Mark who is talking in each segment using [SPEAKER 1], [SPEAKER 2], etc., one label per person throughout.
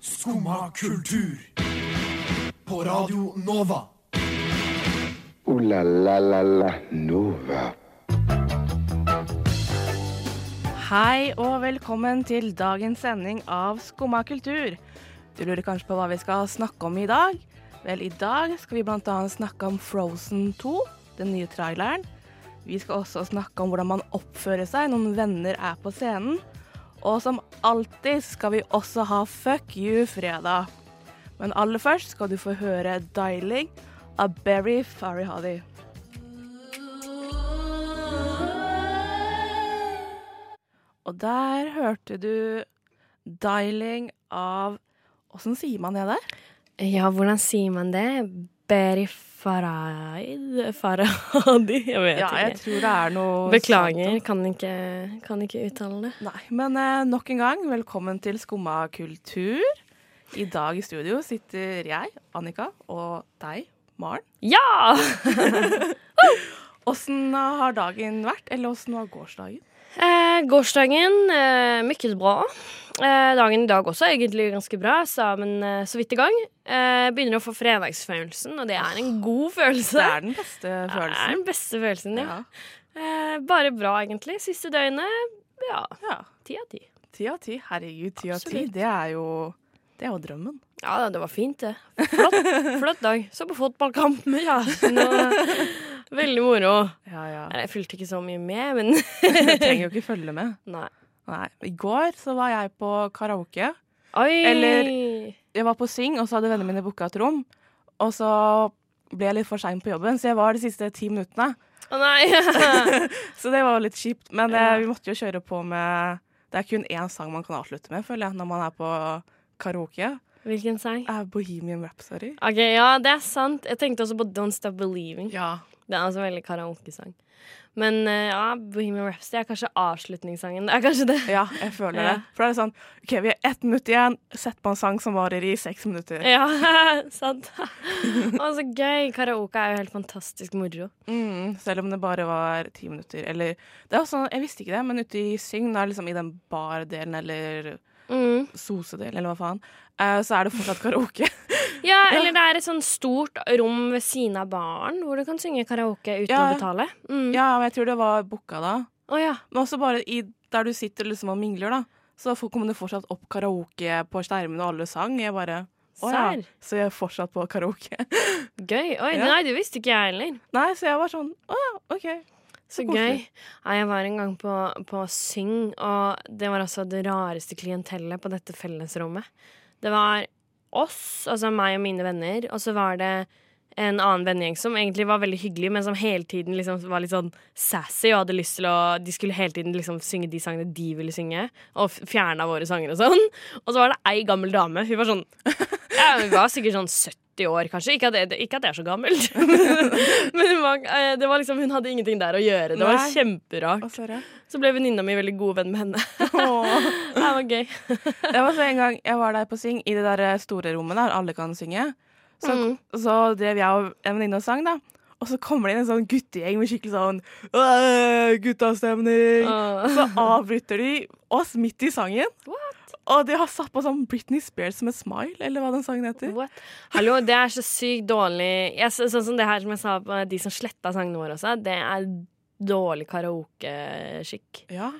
[SPEAKER 1] Skumma kultur. På Radio Nova.
[SPEAKER 2] Ooh la la la la Nova.
[SPEAKER 3] Hei og velkommen til dagens sending av Skumma kultur. Du lurer kanskje på hva vi skal snakke om i dag? Vel, i dag skal vi bl.a. snakke om Frozen 2, den nye traileren. Vi skal også snakke om hvordan man oppfører seg når venner er på scenen. Og som alltid skal vi også ha Fuck you-fredag. Men aller først skal du få høre 'Dialing' av Berry Farihadi. Og der hørte du 'Dialing' av Åssen sier man det der?
[SPEAKER 4] Ja, hvordan sier man det? Berifaraid Farahadi? Jeg vet
[SPEAKER 3] Ja, jeg
[SPEAKER 4] ikke.
[SPEAKER 3] tror det er noe sånn-
[SPEAKER 4] Beklager,
[SPEAKER 3] sant
[SPEAKER 4] kan ikke, kan ikke uttale
[SPEAKER 3] om-
[SPEAKER 4] det.
[SPEAKER 3] Nei, men eh, nok en gang, velkommen til Skumma kultur. I dag i studio sitter jeg, Annika, og deg, Maren.
[SPEAKER 4] Ja!
[SPEAKER 3] Åssen har dagen vært, eller åssen var gårsdagen?
[SPEAKER 4] Eh, gårsdagen eh, mykket bra. Eh, dagen i dag også er egentlig ganske bra, så, men eh, så vidt i gang. Eh, begynner å få fredagsfølelsen, og det er en god
[SPEAKER 3] Det
[SPEAKER 4] følelse.
[SPEAKER 3] er den beste
[SPEAKER 4] Det er
[SPEAKER 3] følelsen.
[SPEAKER 4] den beste følelsen, ja.
[SPEAKER 3] Ja.
[SPEAKER 4] Eh, bare bra, egentlig. Siste døgnet, ja,
[SPEAKER 3] ja.
[SPEAKER 4] ti av ti.
[SPEAKER 3] Ti av ti. Herregud, ti av ti.
[SPEAKER 4] Absolutt.
[SPEAKER 3] Det er jo Det er jo drømmen.
[SPEAKER 4] Ja, da, det var fint, det. Flott, flott dag. Så på fotballkamp med kjæresten. og eh, Veldig moro.
[SPEAKER 3] Ja, ja.
[SPEAKER 4] Nei, Jeg fulgte ikke så mye med, men
[SPEAKER 3] Jeg trenger jo ikke følge med.
[SPEAKER 4] Nei.
[SPEAKER 3] Nei. I går så var jeg på karaoke.
[SPEAKER 4] Oi!
[SPEAKER 3] Eller- jeg var på Syng, og så hadde vennene mine booka et rom. Og så ble jeg litt for sein på jobben, så jeg var de siste ti minuttene.
[SPEAKER 4] Å nei!
[SPEAKER 3] Så det var jo litt kjipt. Men eh, vi måtte jo kjøre på med Det er kun én sang man kan avslutte med, føler jeg, når man er på karaoke.
[SPEAKER 4] Hvilken sang?
[SPEAKER 3] Er Bohemian Rhapsody.
[SPEAKER 4] OK, ja, det er sant. Jeg tenkte også på Don't Stop Believing.
[SPEAKER 3] Ja.
[SPEAKER 4] Det er altså en veldig karaokesang. Men eh, ja, Bohemian Rhapsody er kanskje avslutningssangen. Det er kanskje det.
[SPEAKER 3] ja, jeg føler
[SPEAKER 4] Ja.
[SPEAKER 3] det. For da er det sånn OK, vi har ett minutt igjen. Sett på en sang som varer i seks minutter.
[SPEAKER 4] Ja, sant. Å, så gøy. Karaoke er jo helt fantastisk moro.
[SPEAKER 3] Mm, selv om det bare var ti minutter. Eller det er også, Jeg visste ikke det, men ute i Syng, da er det liksom i den bardelen eller
[SPEAKER 4] Mm.
[SPEAKER 3] sosedel, eller hva faen, eh, så er det fortsatt karaoke.
[SPEAKER 4] Ja, eller det er et sånn stort rom ved siden av baren hvor du kan synge karaoke uten
[SPEAKER 3] Ja.
[SPEAKER 4] å betale. Mm.
[SPEAKER 3] ja, men jeg tror det var booka da.
[SPEAKER 4] Å ja.
[SPEAKER 3] Men også bare i, der du sitter liksom og mingler, da. Så for- kom det fortsatt opp karaoke på skjermen, og alle sang. Jeg bare Å ja.
[SPEAKER 4] Serr?
[SPEAKER 3] Så jeg er fortsatt på karaoke.
[SPEAKER 4] Gøy. Oi,
[SPEAKER 3] Ja.
[SPEAKER 4] nei, det visste ikke jeg heller.
[SPEAKER 3] Nei, så jeg var sånn Å ja, OK.
[SPEAKER 4] Så gøy.
[SPEAKER 3] koselig.
[SPEAKER 4] Ja, jeg var en gang på, på Syng, og det var altså det rareste klientellet på dette fellesrommet. Det var oss, altså meg og mine venner, og så var det en annen vennegjeng som egentlig var veldig hyggelig, men som hele tiden liksom var litt sånn sassy og hadde lyst til å De skulle hele tiden liksom synge de sangene de ville synge, og fjerna våre sanger og sånn. Og så var det ei gammel dame. Hun var sånn ja, Hun var sikkert sånn 70 år, kanskje. Ikke at jeg, ikke at jeg er så gammel. Men hun, var, eh, det var liksom, hun hadde ingenting der å gjøre. Det var
[SPEAKER 3] Nei.
[SPEAKER 4] kjemperart.
[SPEAKER 3] Å, sorry.
[SPEAKER 4] Så ble venninna mi veldig god venn med henne.
[SPEAKER 3] Åh.
[SPEAKER 4] Det var gøy.
[SPEAKER 3] Det var så en gang jeg var der på Syng, i det der eh, store rommet der alle kan synge. Så,
[SPEAKER 4] Mm.
[SPEAKER 3] så drev jeg og en venninne og sang, da. Og så kommer det inn en sånn guttegjeng med skikkelig sånn «Åh, guttastemning.
[SPEAKER 4] Åh.
[SPEAKER 3] Så avbryter de oss midt i sangen. Og de har satt på sånn Britney Spears med smile, eller hva den sangen heter.
[SPEAKER 4] What? Hallo, det er så sykt dårlig jeg, sy- Sånn som det her som jeg sa på de som sletta sangene våre også, det er dårlig karaokeskikk.
[SPEAKER 3] Ja.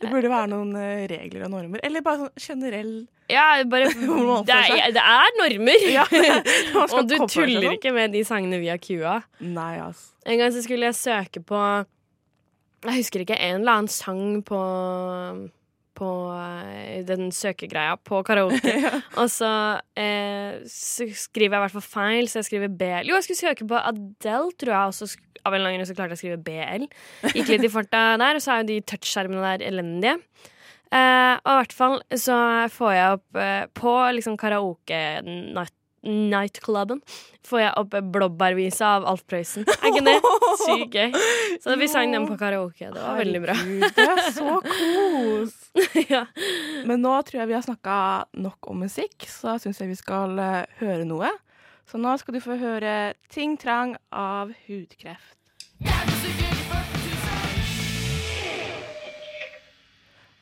[SPEAKER 3] Det burde være noen eh, regler og normer. Eller bare sånn generell
[SPEAKER 4] Ja, bare
[SPEAKER 3] Hvor man
[SPEAKER 4] Det
[SPEAKER 3] oppfører
[SPEAKER 4] er, det er normer!
[SPEAKER 3] Ja, man skal
[SPEAKER 4] Og du
[SPEAKER 3] komme seg
[SPEAKER 4] tuller
[SPEAKER 3] sånn.
[SPEAKER 4] ikke med de sangene vi har cua.
[SPEAKER 3] Nei, ass.
[SPEAKER 4] En gang så skulle jeg søke på Jeg husker ikke en eller annen sang på på eh, den søkegreia på karaoke. Og så eh, så skriver jeg i hvert fall feil, så jeg skriver BL. Jo, jeg skulle søke på Adele, tror jeg, og så sk- av en eller annen grunn så klarte jeg å skrive BL. Gikk litt i farta der, og så er jo de touchskjermene der elendige. Eh, og i hvert fall så får jeg opp eh, på liksom karaoke-natt nightcluben får jeg opp blåbærvisa av Alf Prøysen. Er ikke det sykt gøy? Så vi sang den på karaoke. Det var veldig bra.
[SPEAKER 3] Herregud, det er så kos.
[SPEAKER 4] ja.
[SPEAKER 3] Men nå tror jeg vi har snakka nok om musikk, så syns jeg vi skal eh, høre noe. Så nå skal du få høre 'Ting Trang' av Hudkreft.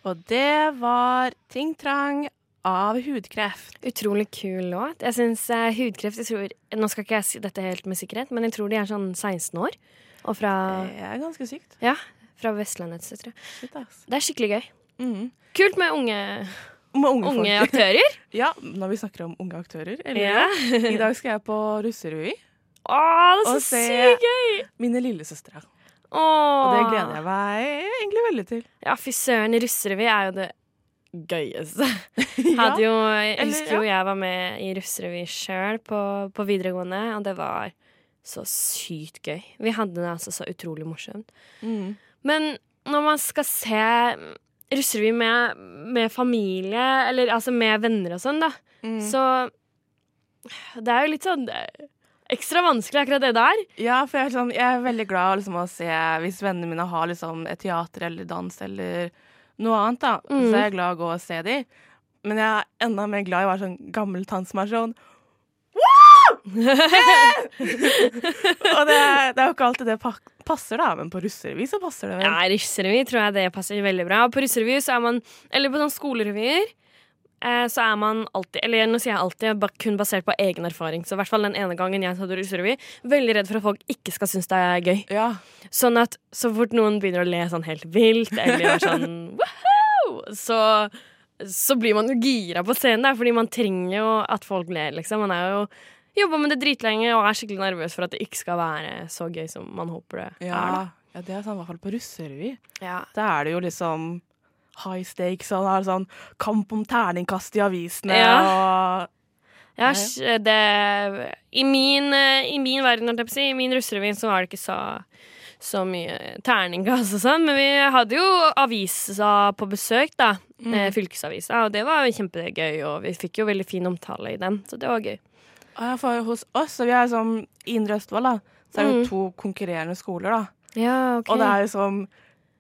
[SPEAKER 3] Og det var 'Ting Trang' av hudkreft.
[SPEAKER 4] Utrolig kul låt. Jeg syns hudkreft jeg tror, Nå skal ikke jeg si dette helt med sikkerhet, men jeg tror de er sånn 16 år. Og fra,
[SPEAKER 3] Det er ganske sykt.
[SPEAKER 4] ja, fra Vestlandet, så tror jeg.
[SPEAKER 3] Shit, ass.
[SPEAKER 4] Det er skikkelig gøy.
[SPEAKER 3] Mm.
[SPEAKER 4] Kult med unge,
[SPEAKER 3] Med unge,
[SPEAKER 4] Mm-hmm. unge
[SPEAKER 3] folk.
[SPEAKER 4] aktører.
[SPEAKER 3] Ja, når vi snakker om unge aktører. Eller,
[SPEAKER 4] Ja.
[SPEAKER 3] I dag skal jeg på russerevy.
[SPEAKER 4] Å, det er
[SPEAKER 3] Og
[SPEAKER 4] så
[SPEAKER 3] se-
[SPEAKER 4] sykt gøy!
[SPEAKER 3] Mine lillesøstre.
[SPEAKER 4] Å,
[SPEAKER 3] Og det gleder jeg meg egentlig veldig til.
[SPEAKER 4] Ja, fy søren, russerevy er jo det gøyeste. Hadde jo, jeg
[SPEAKER 3] Eller,
[SPEAKER 4] husker jo jeg var med i russerevy sjøl på, på videregående, og det var så sykt gøy. Vi hadde det altså så utrolig morsomt.
[SPEAKER 3] Mm.
[SPEAKER 4] Men når man skal se russerevy med, med familie, eller altså med venner og sånn, da,
[SPEAKER 3] Mm.
[SPEAKER 4] så Det er jo litt sånn eh, ekstra vanskelig, akkurat det der.
[SPEAKER 3] Ja, for jeg er, sånn, jeg er veldig glad liksom, å se hvis vennene mine har liksom, et teater eller dans eller noe annet, da.
[SPEAKER 4] Mm.
[SPEAKER 3] Så er jeg glad å gå og se dem. Men jeg er enda mer glad i å være sånn gammel tant som er sånn Wow! og det, det er jo ikke alltid det pak passer, da, men på russerevy så passer det vel.
[SPEAKER 4] Ja, russerevy tror jeg det passer veldig bra. Og på russerevy så er man Eller på sånne skolerevyer eh, så er man alltid Eller nå sier jeg alltid ba- kun basert på egen erfaring. Så i hvert fall den ene gangen jeg hadde russerevy, veldig redd for at folk ikke skal synes det er gøy.
[SPEAKER 3] Ja.
[SPEAKER 4] Sånn at så fort noen begynner å le sånn helt vilt, eller gjør sånn «Woohoo!», så så blir man jo gira på scenen, der, fordi man trenger jo at folk ler, liksom. Man er jo jobba med det dritlenge og er skikkelig nervøs for at det ikke skal være så gøy som man håper det
[SPEAKER 3] Ja.
[SPEAKER 4] er.
[SPEAKER 3] ja, det er sånn i hvert fall på russerevy.
[SPEAKER 4] Da. Ja.
[SPEAKER 3] Da er det jo liksom high stakes, og det er sånn kamp om terningkast i avisene og
[SPEAKER 4] Ja,
[SPEAKER 3] Ja, ja.
[SPEAKER 4] sj- eh, det, i, min, eh, I min verden, holdt jeg på å si, i min russerevy, så var det ikke så, så mye terningkast og sånn. Men vi hadde jo avisa på besøk, da.
[SPEAKER 3] Mm.
[SPEAKER 4] eh, Fylkesavisa. Og det var jo kjempegøy, og vi fikk jo veldig fin omtale i den. Så det var gøy.
[SPEAKER 3] Ja, for hos oss, så vi er som i Indre Østfold, da, så er det jo to konkurrerende skoler, da.
[SPEAKER 4] Ja, ok.
[SPEAKER 3] Og det er jo som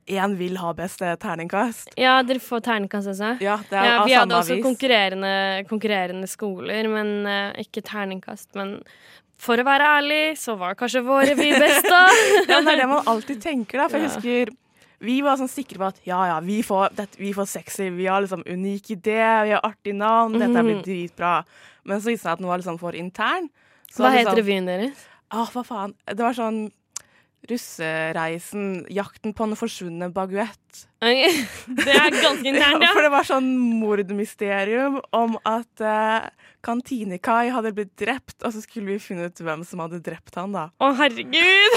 [SPEAKER 3] én vil ha best eh, terningkast.
[SPEAKER 4] Ja, dere får terningkast også?
[SPEAKER 3] Ja, det er
[SPEAKER 4] Ja,
[SPEAKER 3] av
[SPEAKER 4] vi hadde
[SPEAKER 3] samme
[SPEAKER 4] også
[SPEAKER 3] avis.
[SPEAKER 4] konkurrerende, konkurrerende skoler, men eh, ikke terningkast. Men for å være ærlig, så var kanskje våre vi best, da.
[SPEAKER 3] Ja, men det er det man alltid tenker, da. For jeg husker vi var sånn sikre på at ja, ja, vi får, dette, vi får sexy, vi har liksom unik idé, vi har artig navn, dette blir dritbra. Men så viste det seg at den var liksom for intern. Så
[SPEAKER 4] Hva
[SPEAKER 3] var det
[SPEAKER 4] het
[SPEAKER 3] sånn-
[SPEAKER 4] revyen deres?
[SPEAKER 3] Åh, hva faen. Det var sånn russereisen, jakten på den forsvunne baguett.
[SPEAKER 4] Ok, Det er ganske internt,
[SPEAKER 3] Ja,
[SPEAKER 4] ja.
[SPEAKER 3] for det var sånn mordmysterium om at eh, Kantine-Kai hadde blitt drept, og så skulle vi finne ut hvem som hadde drept han, da.
[SPEAKER 4] Å, herregud!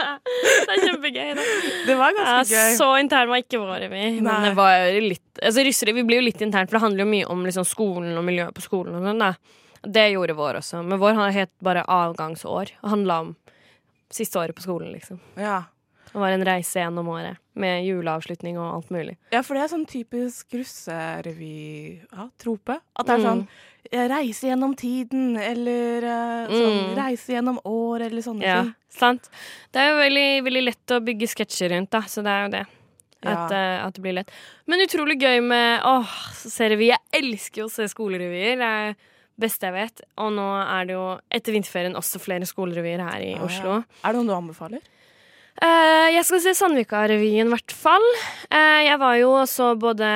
[SPEAKER 4] det er kjempegøy. da.
[SPEAKER 3] Det var ganske
[SPEAKER 4] Ja,
[SPEAKER 3] gøy.
[SPEAKER 4] så intern var ikke våre, vi. Men
[SPEAKER 3] Nei.
[SPEAKER 4] det var jo litt Altså, Russerevy vi blir jo litt internt, for det handler jo mye om liksom, skolen og miljøet på skolen. og sånn da. Det gjorde vår også. Men vår het bare avgangsår. Og handla om siste året på skolen, liksom.
[SPEAKER 3] Ja.
[SPEAKER 4] Det var en reise gjennom året med juleavslutning og alt mulig.
[SPEAKER 3] ja, for det er sånn typisk russerevy-trope. At
[SPEAKER 4] Mm.
[SPEAKER 3] det er sånn eh, reise gjennom tiden, eller eh, sånn
[SPEAKER 4] Mm.
[SPEAKER 3] reise gjennom år, eller sånne
[SPEAKER 4] Ja,
[SPEAKER 3] ting.
[SPEAKER 4] sant? Det er jo veldig, veldig lett å bygge sketsjer rundt, da, så det er jo det.
[SPEAKER 3] Ja.
[SPEAKER 4] At, eh, at det blir lett. Men utrolig gøy med Åh, så ser vi. Jeg elsker jo å se skolerevyer. Det er det beste jeg vet. Og nå er det jo etter vinterferien også flere skolerevyer her i
[SPEAKER 3] Ja, ja.
[SPEAKER 4] Oslo.
[SPEAKER 3] Er det noen du anbefaler?
[SPEAKER 4] Eh, jeg skal se Sandvika-revyen, i hvert fall. Eh, jeg var jo og så både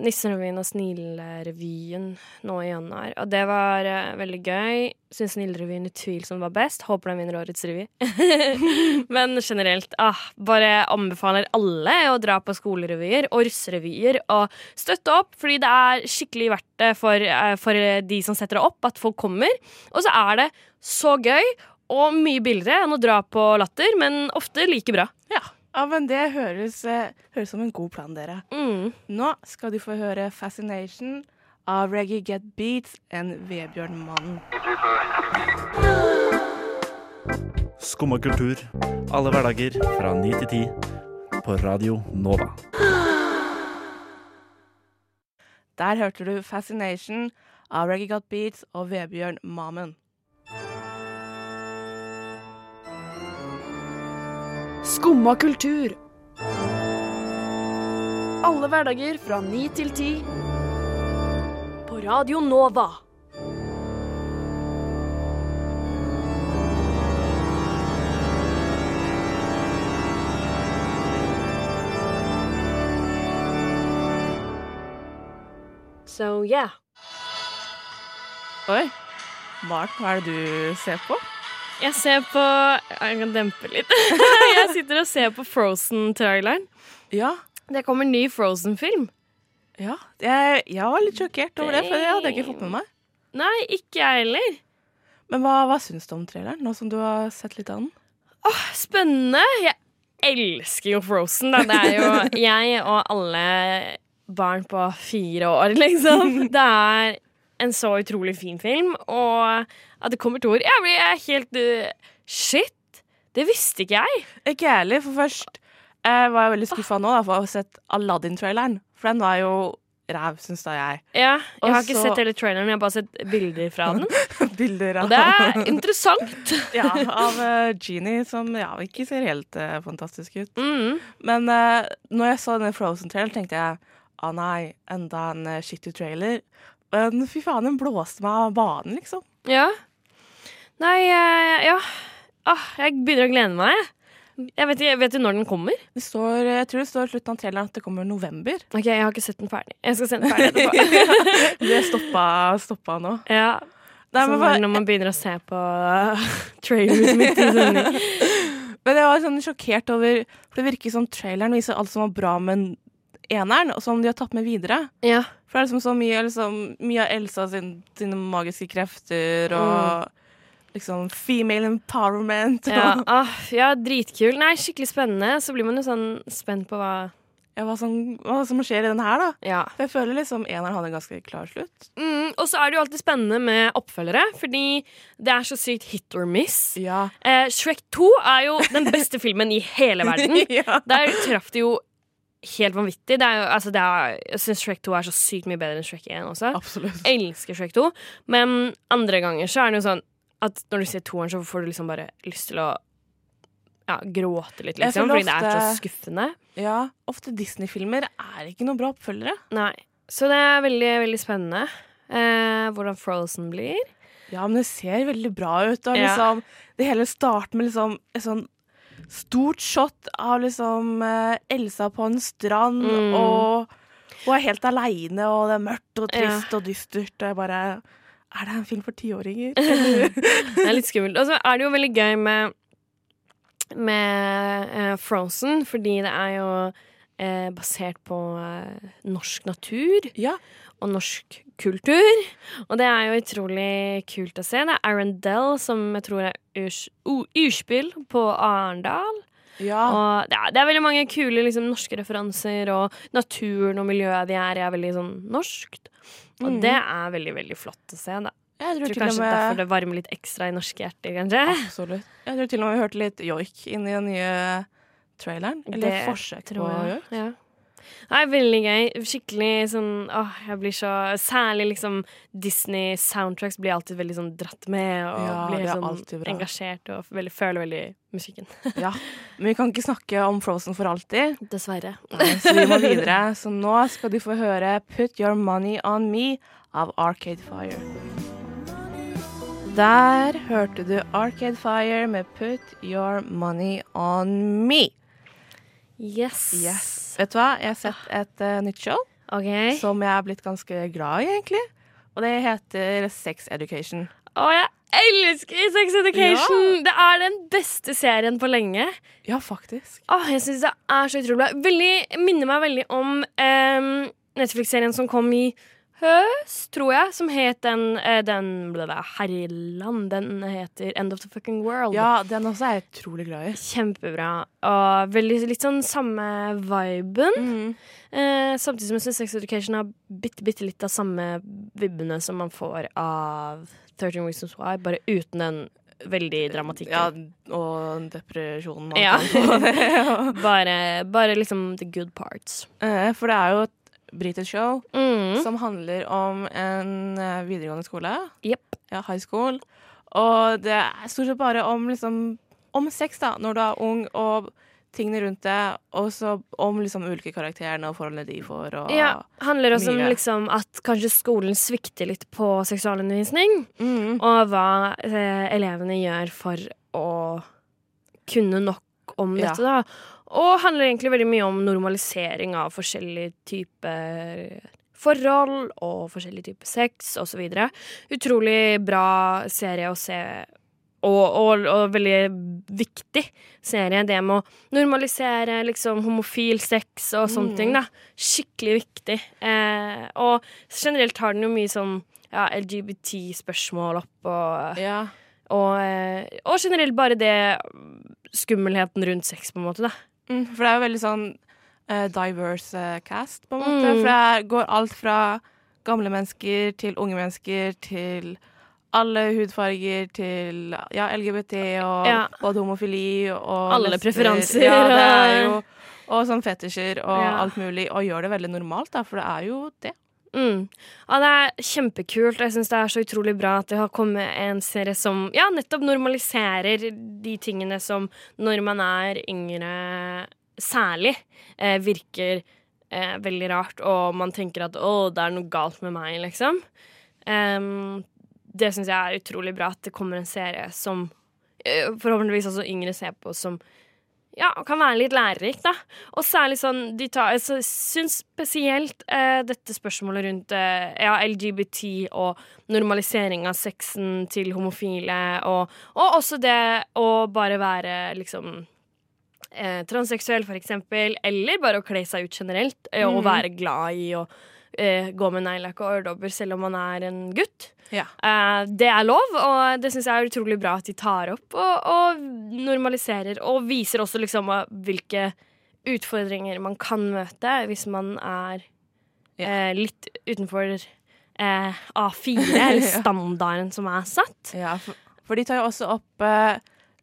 [SPEAKER 4] Nissenrevyen og Snillerevyen nå i januar, og det var eh, veldig gøy. Syns Snillerevyen utvilsomt var best. Håper den vinner årets revy. Men generelt, ah, bare anbefaler alle å dra på skolerevyer og russerevyer og støtte opp, fordi det er skikkelig verdt det for, eh, for de som setter det opp, at folk kommer. Og så er det så gøy og mye billigere enn å dra på latter, men ofte like bra.
[SPEAKER 3] Ja. ja, men det høres, eh, høres som en god plan, dere.
[SPEAKER 4] Mm.
[SPEAKER 3] Nå skal du få høre Fascination av Reggae Get Beats enn Vebjørnmannen.
[SPEAKER 5] Skumma kultur. Alle hverdager fra 9 til 10 på Radio Nova.
[SPEAKER 3] Der hørte du Fascination av Reggae Get Beats og Vebjørn Mamen.
[SPEAKER 6] Skumma kultur. Alle hverdager fra ni til ti. På Radio Nova.
[SPEAKER 4] So yeah.
[SPEAKER 3] Oi. Maren, hva er det du ser på?
[SPEAKER 4] Jeg ser på Jeg kan dempe litt. jeg sitter og ser på Frozen-traileren.
[SPEAKER 3] Ja.
[SPEAKER 4] Det kommer en ny Frozen-film.
[SPEAKER 3] ja. Jeg, jeg var litt sjokkert over det, for det hadde jeg ikke fått med meg.
[SPEAKER 4] Nei, ikke jeg heller.
[SPEAKER 3] Men hva, hva syns du om traileren, nå som du har sett litt av den?
[SPEAKER 4] Spennende. Jeg elsker jo Frozen. Da. Det er jo jeg og alle barn på fire år, liksom. Det er en så utrolig fin film, og at det kommer to år Jeg blir jeg er helt eh, Shit! Det visste ikke jeg.
[SPEAKER 3] Ikke jeg heller, for først eh, var jeg veldig skuffa nå da, for å ha sett Aladdin-traileren. For den var jo ræv, syns da jeg.
[SPEAKER 4] Ja, jeg har
[SPEAKER 3] Og
[SPEAKER 4] ikke
[SPEAKER 3] så-
[SPEAKER 4] sett hele traileren, jeg har bare sett bilder fra den.
[SPEAKER 3] Bilder
[SPEAKER 4] Og det er interessant.
[SPEAKER 3] ja, av eh, Genie, som ja, ikke ser helt eh, fantastisk ut.
[SPEAKER 4] Mm.
[SPEAKER 3] Men eh, når jeg så denne Frozen-traileren, tenkte jeg å nei, enda en eh, shitty trailer. Men fy faen, den blåste meg av banen, liksom.
[SPEAKER 4] Ja. Nei, eh, ja. Åh, jeg begynner å glede meg. jeg. Jeg vet, ikke- vet du når den kommer?
[SPEAKER 3] Det står, jeg tror det står i slutten av traileren at det kommer i november.
[SPEAKER 4] Ok, Jeg har ikke sett den ferdig. Jeg skal se den ferdig etterpå.
[SPEAKER 3] Det stoppa, stoppa nå.
[SPEAKER 4] ja.
[SPEAKER 3] Nei,
[SPEAKER 4] Sånn
[SPEAKER 3] men, hva-
[SPEAKER 4] når man begynner å se på trailers midt i sending.
[SPEAKER 3] men jeg var sånn sjokkert over For det virker som traileren viser alt som var bra med eneren, og som de har tatt med videre.
[SPEAKER 4] Ja.
[SPEAKER 3] For det er liksom så mye, liksom, mye av Elsa sin, sine magiske krefter og liksom female empowerment.
[SPEAKER 4] Ja,
[SPEAKER 3] Og
[SPEAKER 4] ah, ja, dritkul. Nei, skikkelig spennende. Så blir man jo sånn spent på hva
[SPEAKER 3] ja, hva, som, hva som skjer i den her, da.
[SPEAKER 4] Ja.
[SPEAKER 3] For jeg føler liksom eneren hadde en ganske klar slutt.
[SPEAKER 4] Mm, og så er det jo alltid spennende med oppfølgere, fordi det er så sykt hit or miss.
[SPEAKER 3] Ja.
[SPEAKER 4] Eh, Shrek 2 er jo den beste filmen i hele verden.
[SPEAKER 3] ja.
[SPEAKER 4] Der traff det jo helt vanvittig. Det er jo, altså, det er, jeg syns Shrek 2 er så sykt mye bedre enn Shrek 1 også.
[SPEAKER 3] Absolutt.
[SPEAKER 4] Jeg elsker Shrek 2, men andre ganger så er det jo sånn at når du ser toeren, så får du liksom bare lyst til å ja, gråte litt,
[SPEAKER 3] Jeg
[SPEAKER 4] liksom,
[SPEAKER 3] føler
[SPEAKER 4] fordi det er så
[SPEAKER 3] ofte-
[SPEAKER 4] skuffende.
[SPEAKER 3] Ja. Ofte Disney-filmer er ikke noen bra oppfølgere.
[SPEAKER 4] Nei. Så det er veldig, veldig spennende. Eh, hvordan Frozen blir.
[SPEAKER 3] Ja, men det ser veldig bra ut. Og
[SPEAKER 4] Ja.
[SPEAKER 3] liksom, det hele starter med liksom et sånn stort shot av liksom eh, Elsa på en strand,
[SPEAKER 4] Mm.
[SPEAKER 3] og hun er helt aleine, og det er mørkt og trist og dystert, og jeg bare Er det en film for tiåringer?
[SPEAKER 4] Det er litt skummelt. Og så er det jo veldig gøy med, med eh, Frozen, fordi det er jo eh, basert på eh, norsk natur
[SPEAKER 3] ja.
[SPEAKER 4] og norsk kultur. Og det er jo utrolig kult å se. Det er Arendelle som jeg tror er urs- u- urspill på Arendal.
[SPEAKER 3] ja.
[SPEAKER 4] Og det er, det er veldig mange kule liksom, norske referanser, og naturen og miljøet de er i, er veldig sånn norskt. Og
[SPEAKER 3] Mm.
[SPEAKER 4] det er veldig, veldig flott å se. Da.
[SPEAKER 3] Jeg tror,
[SPEAKER 4] Jeg tror
[SPEAKER 3] til og
[SPEAKER 4] kanskje derfor
[SPEAKER 3] med
[SPEAKER 4] det varmer litt ekstra i norske hjerter, kanskje.
[SPEAKER 3] Absolutt. Jeg tror til og med vi hørte litt joik inn i den nye traileren. Eller
[SPEAKER 4] Det
[SPEAKER 3] forsøk på
[SPEAKER 4] tror jeg.
[SPEAKER 3] joik.
[SPEAKER 4] Ja. Nei, veldig gøy. Skikkelig sånn åh, jeg blir så Særlig liksom Disney-soundtracks blir jeg alltid veldig sånn dratt med, og
[SPEAKER 3] Ja,
[SPEAKER 4] blir
[SPEAKER 3] det er alltid
[SPEAKER 4] sånn
[SPEAKER 3] bra.
[SPEAKER 4] engasjert og veldig, føler veldig musikken.
[SPEAKER 3] Ja. Men vi kan ikke snakke om Frozen for alltid.
[SPEAKER 4] Dessverre.
[SPEAKER 3] Så vi må videre. Så nå skal du få høre 'Put Your Money On Me' av Arcade Fire. Der hørte du Arcade Fire med 'Put Your Money On Me'.
[SPEAKER 4] Yes.
[SPEAKER 3] Yes. Vet du hva, jeg har sett et eh, nytt show
[SPEAKER 4] OK.
[SPEAKER 3] som jeg er blitt ganske glad i, egentlig. Og det heter Sex Education.
[SPEAKER 4] Å, jeg elsker Sex Education! Det er den beste serien på lenge.
[SPEAKER 3] Ja, faktisk.
[SPEAKER 4] Åh, Ah, jeg syns det er så utrolig bra. Veldig, minner meg veldig om em, Netflix-serien som kom i høst, tror jeg, som het den, eh, den ble det, Herreland. Den heter End of the Fucking World.
[SPEAKER 3] Ja, den også er jeg utrolig glad i.
[SPEAKER 4] Kjempebra. Og veldig litt sånn samme viben.
[SPEAKER 3] Mm.
[SPEAKER 4] Eh, samtidig som jeg syns Sex Education har bitte, bitte litt av samme vibbene som man får av 13 Reasons Why, bare uten den veldig dramatikken.
[SPEAKER 3] Ja, og depresjonen og
[SPEAKER 4] Ja.
[SPEAKER 3] alt det.
[SPEAKER 4] Bare, bare liksom the good parts.
[SPEAKER 3] Eh, For det er jo et britisk show
[SPEAKER 4] Mm.
[SPEAKER 3] som handler om en eh, videregående skole.
[SPEAKER 4] Jepp.
[SPEAKER 3] Ja, high school. Og det er stort sett bare om, liksom, om sex, da, når du er ung, og tingene rundt det. Og så om liksom, ulike karakterene og forholdene de får. Og,
[SPEAKER 4] Ja, handler også om
[SPEAKER 3] mye.
[SPEAKER 4] liksom, at kanskje skolen svikter litt på seksualundervisning,
[SPEAKER 3] Mm.
[SPEAKER 4] og hva eh, elevene gjør for å kunne nok om
[SPEAKER 3] Ja.
[SPEAKER 4] dette, da. Og handler egentlig veldig mye om normalisering av forskjellige typer forhold og forskjellig type sex osv. Utrolig bra serie å se, og, og, og veldig viktig serie. Det med å normalisere liksom, homofil sex og
[SPEAKER 3] Mm.
[SPEAKER 4] sånne ting. da. Skikkelig viktig. Eh, og generelt har den jo mye sånn ja, LGBT-spørsmål opp og
[SPEAKER 3] Ja.
[SPEAKER 4] og, eh, og generelt bare det skummelheten rundt sex, på en måte. da.
[SPEAKER 3] Mm, for det er jo veldig sånn eh, diverse eh, cast, på en måte.
[SPEAKER 4] Mm.
[SPEAKER 3] For det går alt fra gamle mennesker til unge mennesker til alle hudfarger til ja, LGBT og
[SPEAKER 4] Ja.
[SPEAKER 3] både homofili og
[SPEAKER 4] Alle
[SPEAKER 3] lesber.
[SPEAKER 4] preferanser,
[SPEAKER 3] Ja, det er jo,
[SPEAKER 4] og-
[SPEAKER 3] og sånn fetisjer og
[SPEAKER 4] Ja.
[SPEAKER 3] alt mulig. Og gjør det veldig normalt, da, for det er jo det.
[SPEAKER 4] Mm. Ja, det er kjempekult, og jeg syns det er så utrolig bra at det har kommet en serie som ja, nettopp normaliserer de tingene som når man er yngre særlig, eh, virker eh, veldig rart, og man tenker at å, det er noe galt med meg, liksom. Em, det syns jeg er utrolig bra at det kommer en serie som eh, forhåpentligvis også yngre ser på, som ja, kan være litt lærerik, da. Og særlig sånn de tar, altså, Syns spesielt eh, dette spørsmålet rundt eh, ja, LGBT og normalisering av sexen til homofile, og, og også det å bare være liksom eh, transseksuell, for eksempel, eller bare å kle seg ut generelt, eh, og være glad i å eh, gå med neglelakk og øredobber selv om man er en gutt.
[SPEAKER 3] Ja.
[SPEAKER 4] Eh, det er lov, og det syns jeg er utrolig bra at de tar opp og, og normaliserer. Og viser også liksom eh, hvilke utfordringer man kan møte hvis man er
[SPEAKER 3] Ja.
[SPEAKER 4] eh, litt utenfor eh, A4, eller
[SPEAKER 3] Ja.
[SPEAKER 4] standarden som er satt.
[SPEAKER 3] Ja, for, for de tar jo også opp eh,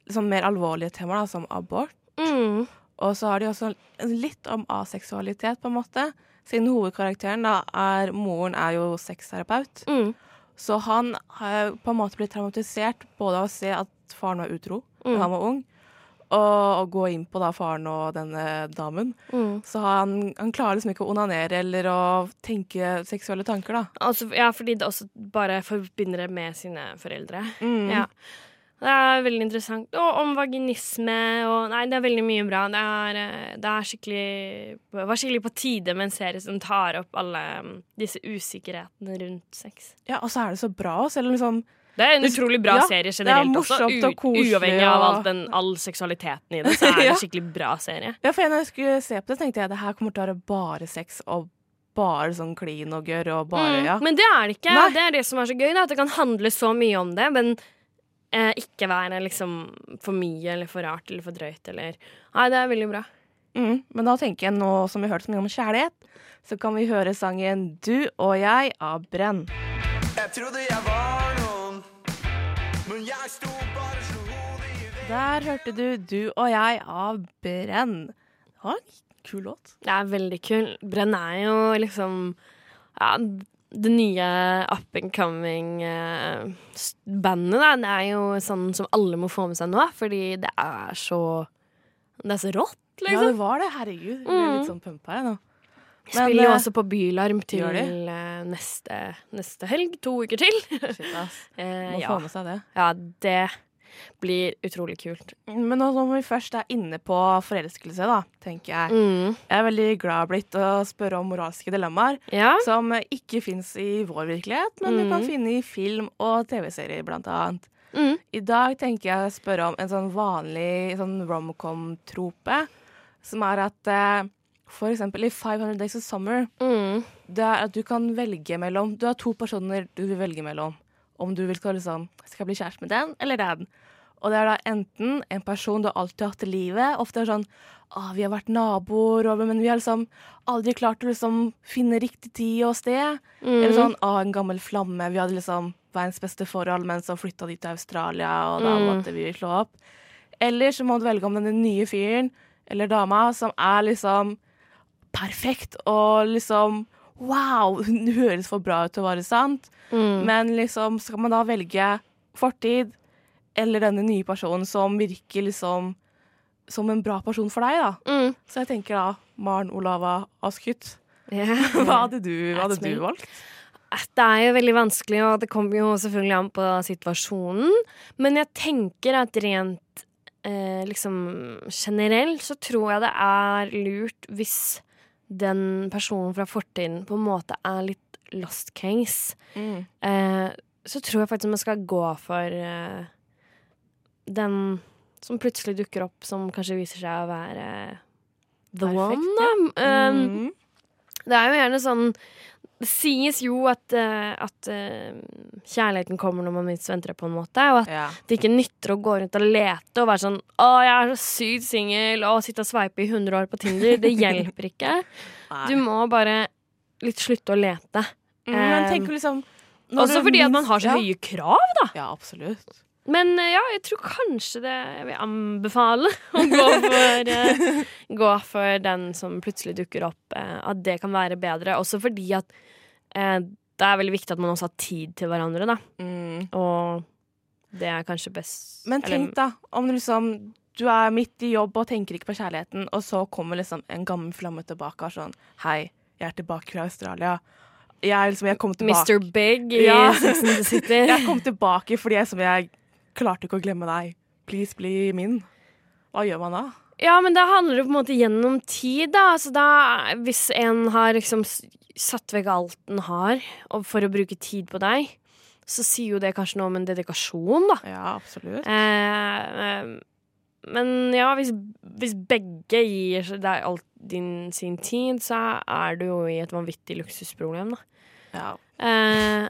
[SPEAKER 3] sånn mer alvorlige temaer, da, som abort.
[SPEAKER 4] Mm.
[SPEAKER 3] Og så har de også litt om aseksualitet, på en måte. Siden hovedkarakteren da er Moren er jo sexterapeut.
[SPEAKER 4] Mm.
[SPEAKER 3] Så han har på en måte blitt traumatisert både av å se at faren var utro da
[SPEAKER 4] Mm.
[SPEAKER 3] han var ung, og å gå inn på da faren og denne damen.
[SPEAKER 4] Mm.
[SPEAKER 3] Så han, han klarer liksom ikke å onanere eller å tenke seksuelle tanker, da.
[SPEAKER 4] Altså, ja, fordi det også bare forbinder det med sine foreldre.
[SPEAKER 3] Mm.
[SPEAKER 4] Ja. Det er veldig interessant. Og om vaginisme og Nei, det er veldig mye bra. Det, er, eh, det er skikkelig, det var skikkelig på tide med en serie som tar opp alle mm, disse usikkerhetene rundt sex.
[SPEAKER 3] Ja, og så er det så bra, selv om liksom
[SPEAKER 4] Det er en
[SPEAKER 3] Det-
[SPEAKER 4] utrolig bra
[SPEAKER 3] ja,
[SPEAKER 4] serie
[SPEAKER 3] er
[SPEAKER 4] generelt også.
[SPEAKER 3] morsomt og koselig,
[SPEAKER 4] uavhengig av
[SPEAKER 3] og-
[SPEAKER 4] alt den, all seksualiteten i det, så er det
[SPEAKER 3] Ja.
[SPEAKER 4] en skikkelig bra serie.
[SPEAKER 3] Ja, for når jeg skulle se på det, tenkte jeg det her kommer til å være bare sex og bare sånn klin og gørr og bare
[SPEAKER 4] Mm,
[SPEAKER 3] ja.
[SPEAKER 4] Men det er det ikke.
[SPEAKER 3] Nei.
[SPEAKER 4] Det er det som er så gøy, da, at det kan handle så mye om det, men eh, ikke være liksom for mye eller for rart eller for drøyt eller Nei, det er veldig bra.
[SPEAKER 3] Mm. Men da tenker jeg nå som vi hørte så mye om kjærlighet, så kan vi høre sangen Du og jeg av Brenn.
[SPEAKER 7] Jeg trodde jeg var noen, men jeg sto bare og slo hodet i veggen.
[SPEAKER 3] Der hørte du Du og jeg av Brenn. Det var en kul låt.
[SPEAKER 4] Det er veldig kul. Brenn er jo liksom ja, det nye up and coming eh, s- bandet. Da. Det er jo sånn som alle må få med seg nå, fordi det er så Det er så rått,
[SPEAKER 3] Ja,
[SPEAKER 4] liksom.
[SPEAKER 3] det var det. Herregud. Jeg ble
[SPEAKER 4] Mm.
[SPEAKER 3] litt sånn pumpa jeg nå.
[SPEAKER 4] De Spiller jo
[SPEAKER 3] eh,
[SPEAKER 4] også på Bylarm til
[SPEAKER 3] gjør
[SPEAKER 4] eh, neste, neste helg. To uker til.
[SPEAKER 3] Shit, ass.
[SPEAKER 4] Eh,
[SPEAKER 3] Må
[SPEAKER 4] ja.
[SPEAKER 3] få med seg det.
[SPEAKER 4] ja, det blir utrolig kult.
[SPEAKER 3] Men nå som vi først er inne på forelskelse, da, tenker jeg.
[SPEAKER 4] Mm.
[SPEAKER 3] Jeg er veldig glad blitt å spørre om moralske dilemmaer.
[SPEAKER 4] Ja.
[SPEAKER 3] Som ikke fins i vår virkelighet, men du kan finne i film og TV-serier, blant annet.
[SPEAKER 4] Mm.
[SPEAKER 3] I dag tenker jeg å spørre om en sånn vanlig sånn romcom-trope, som er at eh, for eksempel i 500 Days of Summer,
[SPEAKER 4] Mm.
[SPEAKER 3] det er at du kan velge mellom Du har to personer du vil velge mellom. Om du vil skal, liksom, skal bli kjæreste med den eller den. Og det er da enten en person du har alltid hatt i livet. Ofte er det sånn ah, 'Vi har vært naboer, og, men vi har liksom aldri klart å liksom finne riktig tid og sted.' Eller sånn ah, 'En gammel flamme. Vi hadde liksom verdens beste forhold, men så flytta de til Australia, og da måtte vi slå opp.' Eller så må du velge om denne nye fyren eller dama som er liksom perfekt og liksom Wow! Hun høres for bra ut til å være sant.
[SPEAKER 4] Mm.
[SPEAKER 3] Men liksom, skal man da velge fortid eller denne nye personen som virker liksom som en bra person for deg, da?
[SPEAKER 4] Mm.
[SPEAKER 3] Så jeg tenker da Maren Olava Askhytt.
[SPEAKER 4] Ja.
[SPEAKER 3] Hva hadde du, hva hadde
[SPEAKER 4] Mm. That's me.
[SPEAKER 3] du valgt?
[SPEAKER 4] Eh, Det er jo veldig vanskelig, og det kommer jo selvfølgelig an på situasjonen. Men jeg tenker at rent eh, liksom generelt så tror jeg det er lurt hvis den personen fra fortiden på en måte er litt lost case,
[SPEAKER 3] Mm.
[SPEAKER 4] eh, så tror jeg faktisk man skal gå for eh, den som plutselig dukker opp, som kanskje viser seg å være eh, the
[SPEAKER 3] Perfekt,
[SPEAKER 4] one.
[SPEAKER 3] ja.
[SPEAKER 4] Da. Eh,
[SPEAKER 3] Mm.
[SPEAKER 4] det er jo gjerne sånn Det sies jo at, eh, at eh, kjærligheten kommer når man minst venter det, på en måte. Og at
[SPEAKER 3] Ja.
[SPEAKER 4] det ikke nytter å gå rundt og lete og være sånn 'Å, jeg er så sykt singel', og sitte og sveipe i 100 år på Tinder. Det hjelper ikke. Du
[SPEAKER 3] Nei.
[SPEAKER 4] må bare litt slutte å lete.
[SPEAKER 3] Mm, men
[SPEAKER 4] eh,
[SPEAKER 3] tenk liksom når
[SPEAKER 4] Også
[SPEAKER 3] du
[SPEAKER 4] fordi at man
[SPEAKER 3] minst-
[SPEAKER 4] har så
[SPEAKER 3] ja.
[SPEAKER 4] høye krav, da.
[SPEAKER 3] Ja, absolutt.
[SPEAKER 4] Men eh, ja, jeg tror kanskje det Jeg vil anbefale å gå for, eh, gå for den som plutselig dukker opp. Eh, at det kan være bedre. Også fordi at eh, det er veldig viktig at man også har tid til hverandre, da.
[SPEAKER 3] Mm.
[SPEAKER 4] Og det er kanskje best
[SPEAKER 3] Men tenk da, om du liksom du er midt i jobb og tenker ikke på kjærligheten, og så kommer liksom en gammel flamme tilbake og er sånn Hei, jeg er tilbake fra Australia. Jeg er liksom, jeg kom tilbake
[SPEAKER 4] Mr. Big i
[SPEAKER 3] Ja.
[SPEAKER 4] Sex and the City.
[SPEAKER 3] Jeg kom tilbake fordi jeg, som jeg klarte ikke å glemme deg. Please, bli min. Hva gjør man da?
[SPEAKER 4] Ja, men da handler det på en måte gjennom tid, da. Altså da hvis en har liksom s- satt vekk alt den har og for å bruke tid på deg, så sier jo det kanskje noe om en dedikasjon, da.
[SPEAKER 3] Ja, absolutt.
[SPEAKER 4] Eh, eh, men ja, hvis, hvis begge gir seg- deg all din, sin tid, så er du jo i et vanvittig luksusproblem, da.
[SPEAKER 3] Ja.
[SPEAKER 4] Eh,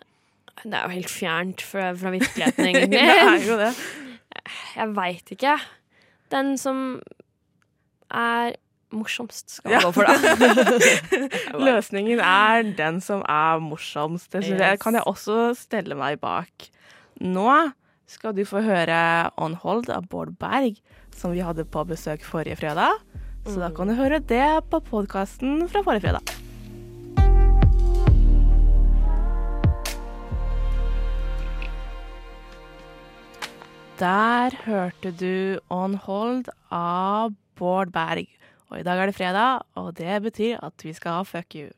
[SPEAKER 4] det er jo helt fjernt fra, fra virkeligheten,
[SPEAKER 3] Det er
[SPEAKER 4] egentlig.
[SPEAKER 3] jo det.
[SPEAKER 4] Jeg veit ikke. Den som er morsomst, skal
[SPEAKER 3] Ja.
[SPEAKER 4] gå for det.
[SPEAKER 3] Løsningen er den som er morsomst. Det synes jeg.
[SPEAKER 4] Yes.
[SPEAKER 3] kan jeg også stelle meg bak. Nå skal du få høre On Hold av Bård Berg, som vi hadde på besøk forrige fredag. Så da kan du høre det på podkasten fra forrige fredag. Der hørte du On Hold av Bård Berg. Og i dag er det fredag, og det betyr at vi skal ha fuck you.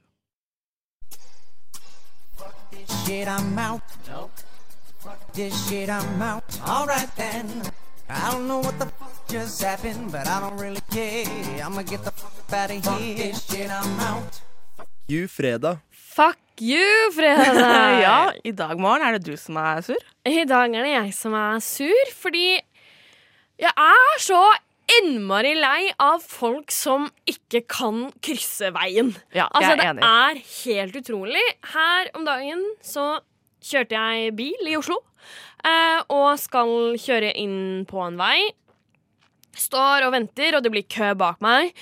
[SPEAKER 8] shit, I'm out. Fuck this shit, I'm out. Alright then. I don't know what the fuck just happened, but I don't really care. I'ma get the fuck out of here. this shit, I'm out.
[SPEAKER 9] You fredag.
[SPEAKER 4] Fuck you, Fredag!
[SPEAKER 3] ja, i dag morgen er det du som er sur.
[SPEAKER 4] I dag er det jeg som er sur, fordi jeg er så innmari lei av folk som ikke kan krysse veien.
[SPEAKER 3] Ja,
[SPEAKER 4] Altså,
[SPEAKER 3] jeg
[SPEAKER 4] det
[SPEAKER 3] er enig.
[SPEAKER 4] er helt utrolig. Her om dagen så kjørte jeg bil i Oslo, eh, og skal kjøre inn på en vei. Står og venter, og det blir kø bak meg.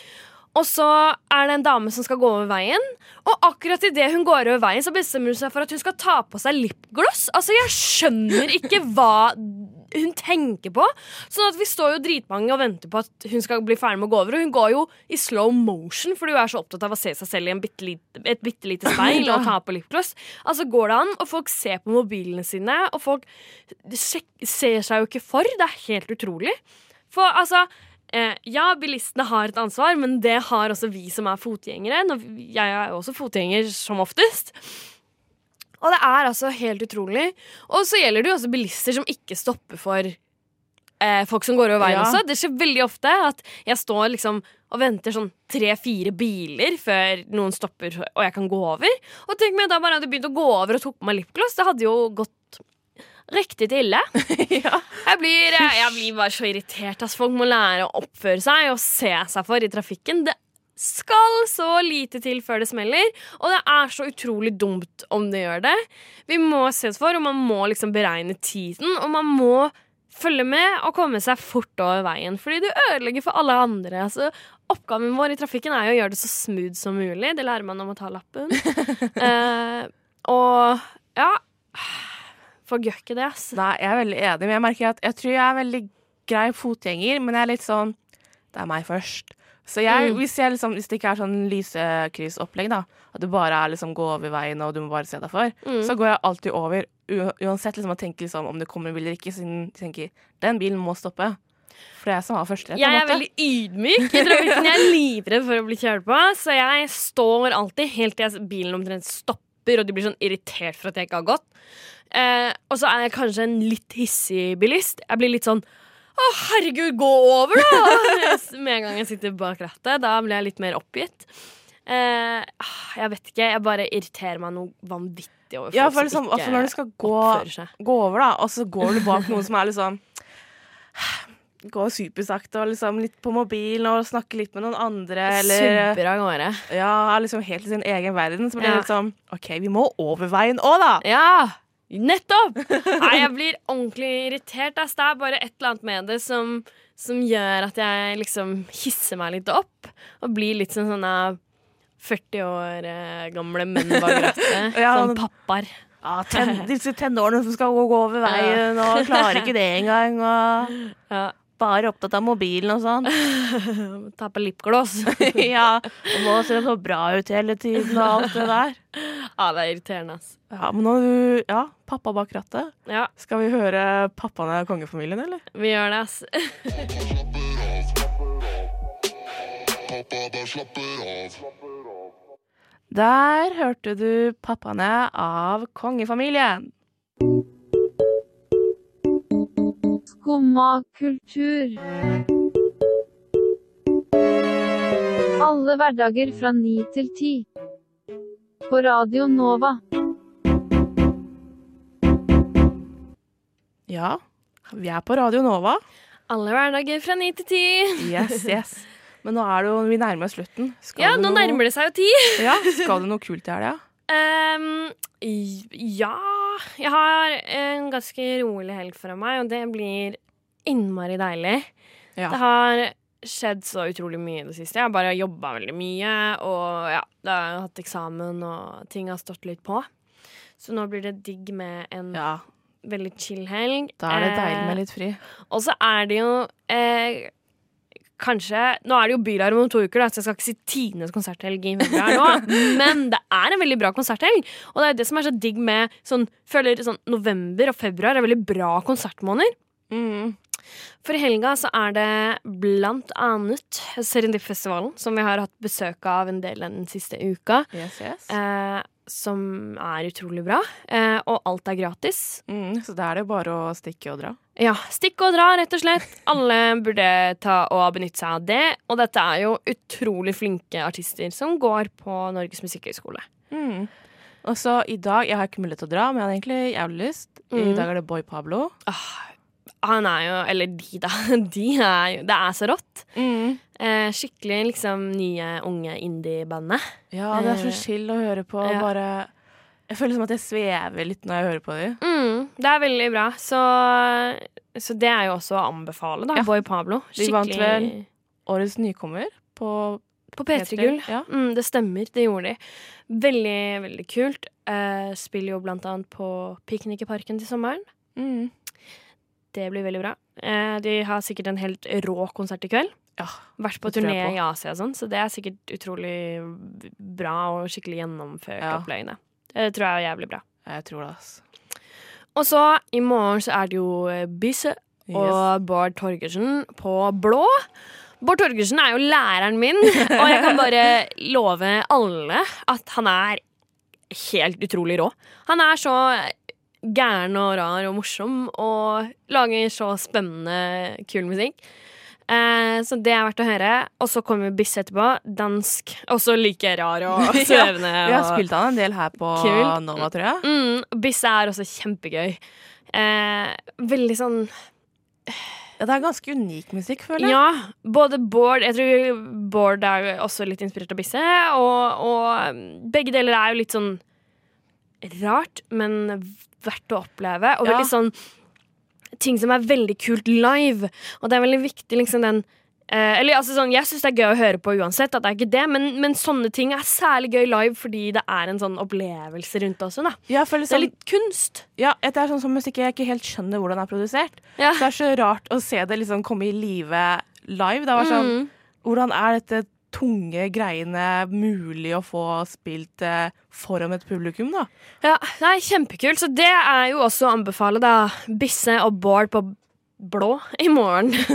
[SPEAKER 4] Og så er det en dame som skal gå over veien, og akkurat idet hun går over veien, så bestemmer hun seg for at hun skal ta på seg lipgloss. Altså, jeg skjønner ikke hva hun tenker på. Sånn at vi står jo dritmange og venter på at hun skal bli ferdig med å gå over, og hun går jo i slow motion fordi hun er så opptatt av å se seg selv i en bitte lite, et bitte lite speil og ta på lipgloss. Altså, går det an? Og folk ser på mobilene sine, og folk sjek ser seg jo ikke for. Det er helt utrolig. For altså eh, Ja, bilistene har et ansvar, men det har også vi som er fotgjengere. Når vi, jeg er jo også fotgjenger som oftest. Og det er altså helt utrolig. Og så gjelder det jo også bilister som ikke stopper for eh, folk som går over veien
[SPEAKER 3] Ja.
[SPEAKER 4] også. Det skjer veldig ofte at jeg står liksom og venter sånn tre-fire biler før noen stopper og jeg kan gå over. Og tenk meg, da bare hadde jeg begynt å gå over og tok på meg lipgloss. Det hadde jo gått riktig til ille. Jeg blir, eh, jeg blir bare så irritert. ass. folk må lære å oppføre seg og se seg for i trafikken. Det skal så lite til før det smeller, og det er så utrolig dumt om det gjør det. Vi må ses for, og man må liksom beregne tiden, og man må følge med og komme seg fort over veien, fordi du ødelegger for alle andre. Altså, oppgaven vår i trafikken er jo å gjøre det så smooth som mulig. Det lærer man om å ta lappen. Eh, og ja Folk gjør ikke det, ass.
[SPEAKER 3] Nei, jeg er veldig enig, men jeg merker at jeg tror jeg er veldig grei fotgjenger, men jeg er litt sånn Det er meg først. Så jeg,
[SPEAKER 4] Mm.
[SPEAKER 3] hvis, jeg liksom, hvis det ikke er sånn lysekryssopplegg, da, at du bare er liksom gå over veien og du må bare se deg for,
[SPEAKER 4] Mm.
[SPEAKER 3] så går jeg alltid over. u- Uansett liksom, jeg tenker liksom, om det kommer en bil eller ikke, siden jeg tenker den bilen må stoppe. For det er jeg som har førsterett. på en
[SPEAKER 4] Jeg er
[SPEAKER 3] måte.
[SPEAKER 4] veldig ydmyk i trafikken. Jeg er livredd for å bli kjørt på, så jeg står alltid helt til jeg- bilen omtrent stopper, og de blir sånn irritert for at jeg ikke har gått. Eh, og så er jeg kanskje en litt hissig bilist. Jeg blir litt sånn å, herregud, gå over, da! Med en gang jeg sitter bak rattet. Da blir jeg litt mer oppgitt. Eh, ah, jeg vet ikke. Jeg bare irriterer meg noe vanvittig over folk
[SPEAKER 3] Ja, for liksom, altså når du skal gå,
[SPEAKER 4] oppfører seg.
[SPEAKER 3] gå over, da, og så går du bak noen som er liksom Går supersakte og liksom litt på mobilen og snakker litt med noen andre, eller
[SPEAKER 4] subber av gårde.
[SPEAKER 3] Ja, er liksom helt i sin egen verden. Så blir det
[SPEAKER 4] Ja.
[SPEAKER 3] litt sånn OK, vi må over veien òg, da!
[SPEAKER 4] Ja! Nettopp! Nei, jeg blir ordentlig irritert. ass. Det er bare et eller annet med det som, som gjør at jeg liksom hisser meg litt opp. Og blir litt sånn, som sånne 40 år eh, gamle menn bak rattet.
[SPEAKER 3] Ja,
[SPEAKER 4] sånn
[SPEAKER 3] men-
[SPEAKER 4] pappaer.
[SPEAKER 3] Ja, ten, disse tenårene som skal gå gå over veien og klarer ikke det engang. Og
[SPEAKER 4] Ja,
[SPEAKER 3] bare opptatt av mobilen og sånn.
[SPEAKER 4] Ta på lipgloss.
[SPEAKER 3] Ja, og nå ser de så bra ut hele tiden og alt det der.
[SPEAKER 4] ja, det er irriterende, ass.
[SPEAKER 3] Ja, men nå er du Ja, pappa bak rattet.
[SPEAKER 4] Ja,
[SPEAKER 3] Skal vi høre pappaen av kongefamilien, eller?
[SPEAKER 4] vi gjør det, ass.
[SPEAKER 3] Der hørte du pappaene av kongefamilien.
[SPEAKER 9] Skumma kultur. Alle hverdager fra ni til ti. På Radio Nova.
[SPEAKER 3] Ja, vi er på Radio Nova.
[SPEAKER 4] Alle hverdager fra ni til ti.
[SPEAKER 3] Yes, yes. Men nå er det jo, vi nærmer oss slutten. Skal
[SPEAKER 4] Ja,
[SPEAKER 3] du
[SPEAKER 4] nå
[SPEAKER 3] noe-
[SPEAKER 4] nærmer det seg jo ti.
[SPEAKER 3] Ja, skal du noe kult i helga?
[SPEAKER 4] Ehm, i- ja Jeg har en ganske rolig helg foran meg, og det blir innmari deilig.
[SPEAKER 3] Ja.
[SPEAKER 4] Det har skjedd så utrolig mye i det siste. Jeg har bare jobba veldig mye, og ja, da har jeg hatt eksamen, og ting har stått litt på. Så nå blir det digg med en
[SPEAKER 3] Ja,
[SPEAKER 4] veldig chill helg.
[SPEAKER 3] da er det deilig
[SPEAKER 4] Eh,
[SPEAKER 3] med litt fri.
[SPEAKER 4] og så er det jo eh, Kanskje Nå er det jo Bylarm om to uker, da, så jeg skal ikke si tidenes konserthelg i februar nå. Men det er en veldig bra konserthelg, og det er det som er så digg med sånn, føler sånn November og februar er veldig bra konsertmåneder. For i helga så er det blant annet Serendipfestivalen, som vi har hatt besøk av en del den siste uka.
[SPEAKER 3] Yes, yes.
[SPEAKER 4] Eh, som er utrolig bra. Eh, og alt er gratis.
[SPEAKER 3] Mm, så da er det jo bare å stikke og dra.
[SPEAKER 4] Ja, stikk og dra, rett og slett. Alle burde ta og benytte seg av det. Og dette er jo utrolig flinke artister som går på Norges musikkhøgskole.
[SPEAKER 3] Mm. Og så i dag, jeg har ikke mulighet til å dra, men jeg hadde egentlig jævlig lyst. I
[SPEAKER 4] Mm.
[SPEAKER 3] dag er det Boy Pablo.
[SPEAKER 4] Ah, Han er jo Eller de, da. De er jo Det er så rått.
[SPEAKER 3] Mm.
[SPEAKER 4] Eh, skikkelig liksom nye, unge indie-bandet.
[SPEAKER 3] Ja, det er så chill å høre på.
[SPEAKER 4] Eh, Ja.
[SPEAKER 3] Bare Jeg føler som at jeg svever litt når jeg hører på dem.
[SPEAKER 4] Mm, det er veldig bra. Så, så det er jo også å anbefale, da.
[SPEAKER 3] Ja.
[SPEAKER 4] Boy Pablo.
[SPEAKER 3] De vant vel Årets nykommer på
[SPEAKER 4] På P3 Gull.
[SPEAKER 3] Ja.
[SPEAKER 4] Mm, det stemmer, det gjorde de. Veldig, veldig kult. Eh, spiller jo blant annet på Piknik i parken til sommeren.
[SPEAKER 3] Mm.
[SPEAKER 4] Det blir veldig bra. Eh, de har sikkert en helt rå konsert i kveld.
[SPEAKER 3] Ja,
[SPEAKER 4] Vært på
[SPEAKER 3] det tror jeg
[SPEAKER 4] turné
[SPEAKER 3] på.
[SPEAKER 4] i Asia og sånn, så det er sikkert utrolig bra og skikkelig gjennomført
[SPEAKER 3] Ja.
[SPEAKER 4] opplegg. det. Det tror jeg er jævlig bra.
[SPEAKER 3] Jeg tror det, altså.
[SPEAKER 4] Og så, i morgen så er det jo eh, Byse
[SPEAKER 3] Yes.
[SPEAKER 4] og Bård Torgersen på blå. Bård Torgersen er jo læreren min, og jeg kan bare love alle at han er helt utrolig rå. Han er så gæren og rar og morsom og lager så spennende, kul musikk. Eh, så det er verdt å høre. Og så kommer Bisse etterpå. Dansk. Også like rar og
[SPEAKER 3] Ja,
[SPEAKER 4] svevende.
[SPEAKER 3] Vi har
[SPEAKER 4] og-
[SPEAKER 3] spilt han en del her på
[SPEAKER 4] Kult.
[SPEAKER 3] Nova, tror jeg.
[SPEAKER 4] Mm, Bisse er også kjempegøy. Eh, veldig sånn
[SPEAKER 3] Ja, det er ganske unik musikk, føler jeg.
[SPEAKER 4] Ja, både Bård Jeg tror Bård er jo også litt inspirert av Bisse, og, og um, begge deler er jo litt sånn rart, men verdt å oppleve. Og
[SPEAKER 3] Ja.
[SPEAKER 4] veldig sånn ting som er veldig kult live. Og det er veldig viktig, liksom den eh, eller altså sånn, Jeg syns det er gøy å høre på uansett, at det er ikke det, men, men sånne ting er særlig gøy live fordi det er en sånn opplevelse rundt det også. Da.
[SPEAKER 3] Ja, jeg føler
[SPEAKER 4] Det er
[SPEAKER 3] sånn,
[SPEAKER 4] litt kunst.
[SPEAKER 3] ja, det er sånn som musikk jeg ikke helt skjønner hvordan er produsert.
[SPEAKER 4] Ja.
[SPEAKER 3] Så det er så rart å se det liksom komme i live live. Det var sånn,
[SPEAKER 4] Mm.
[SPEAKER 3] Hvordan er dette tunge greiene mulig å få spilt eh, foran et publikum, da?
[SPEAKER 4] Ja, nei, kjempekult. Så det er jo også å anbefale, da. Bisse og Bård på blå i morgen.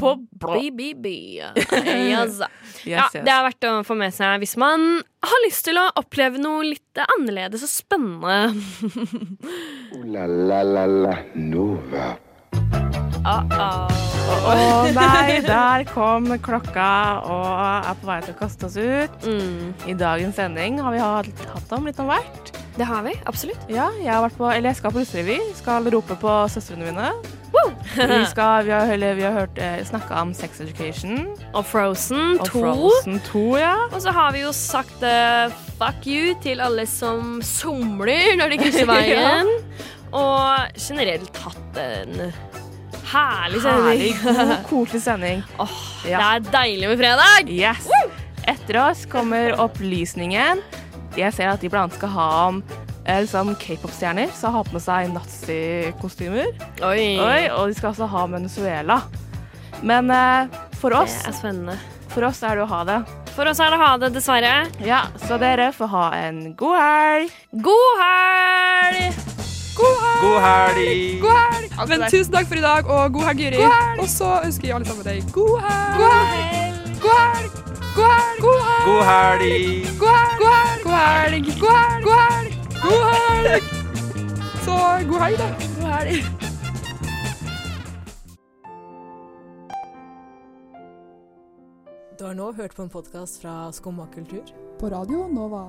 [SPEAKER 3] På blå.
[SPEAKER 4] BBB. Yes. Ja,
[SPEAKER 3] Yes, yes.
[SPEAKER 4] det er verdt å få med seg hvis man har lyst til å oppleve noe litt annerledes og spennende.
[SPEAKER 2] Ooh la la la la Nova.
[SPEAKER 4] Uh -oh.
[SPEAKER 3] Å nei, der kom klokka og er på vei til å kaste oss ut.
[SPEAKER 4] Mm.
[SPEAKER 3] I dagens sending har vi hatt, hatt om litt om hvert.
[SPEAKER 4] Det har vi, absolutt.
[SPEAKER 3] Ja, jeg, har vært på, eller jeg skal på russerevy. Skal rope på søstrene mine. Vi, skal, vi, har, eller, vi har hørt eh, snakka om sex education.
[SPEAKER 4] Og Frozen
[SPEAKER 3] Og
[SPEAKER 4] 2.
[SPEAKER 3] Frozen 2, ja.
[SPEAKER 4] Og så har vi jo sagt eh, fuck you til alle som somler når de krysser veien. Og generelt hatt en herlig
[SPEAKER 3] Herlig,
[SPEAKER 4] sending.
[SPEAKER 3] god, koselig sending.
[SPEAKER 4] Det
[SPEAKER 3] ja.
[SPEAKER 4] er deilig med fredag!
[SPEAKER 3] Yes. Etter oss kommer opplysningen. Jeg ser at de blant annet skal ha om eh, liksom k-pop-stjerner som har på med seg nazikostymer. Oi, og de skal også ha Venezuela. Men eh, for
[SPEAKER 4] Det
[SPEAKER 3] oss,
[SPEAKER 4] er spennende.
[SPEAKER 3] for oss er det å ha det.
[SPEAKER 4] For oss er det ha det, dessverre.
[SPEAKER 3] Ja, så dere får ha en god helg.
[SPEAKER 4] God helg!
[SPEAKER 7] God helg!
[SPEAKER 10] Men tusen takk for i dag, og god helg, Jyri. Og så ønsker vi alle sammen deg god helg. God helg! God helg! God helg! God helg!
[SPEAKER 7] God helg!
[SPEAKER 10] God helg! God helg! God helg! God helg! God helg! Så god helg, da. God helg.
[SPEAKER 6] Du har nå hørt på en podkast fra Skumma kultur.
[SPEAKER 10] På radio Nova.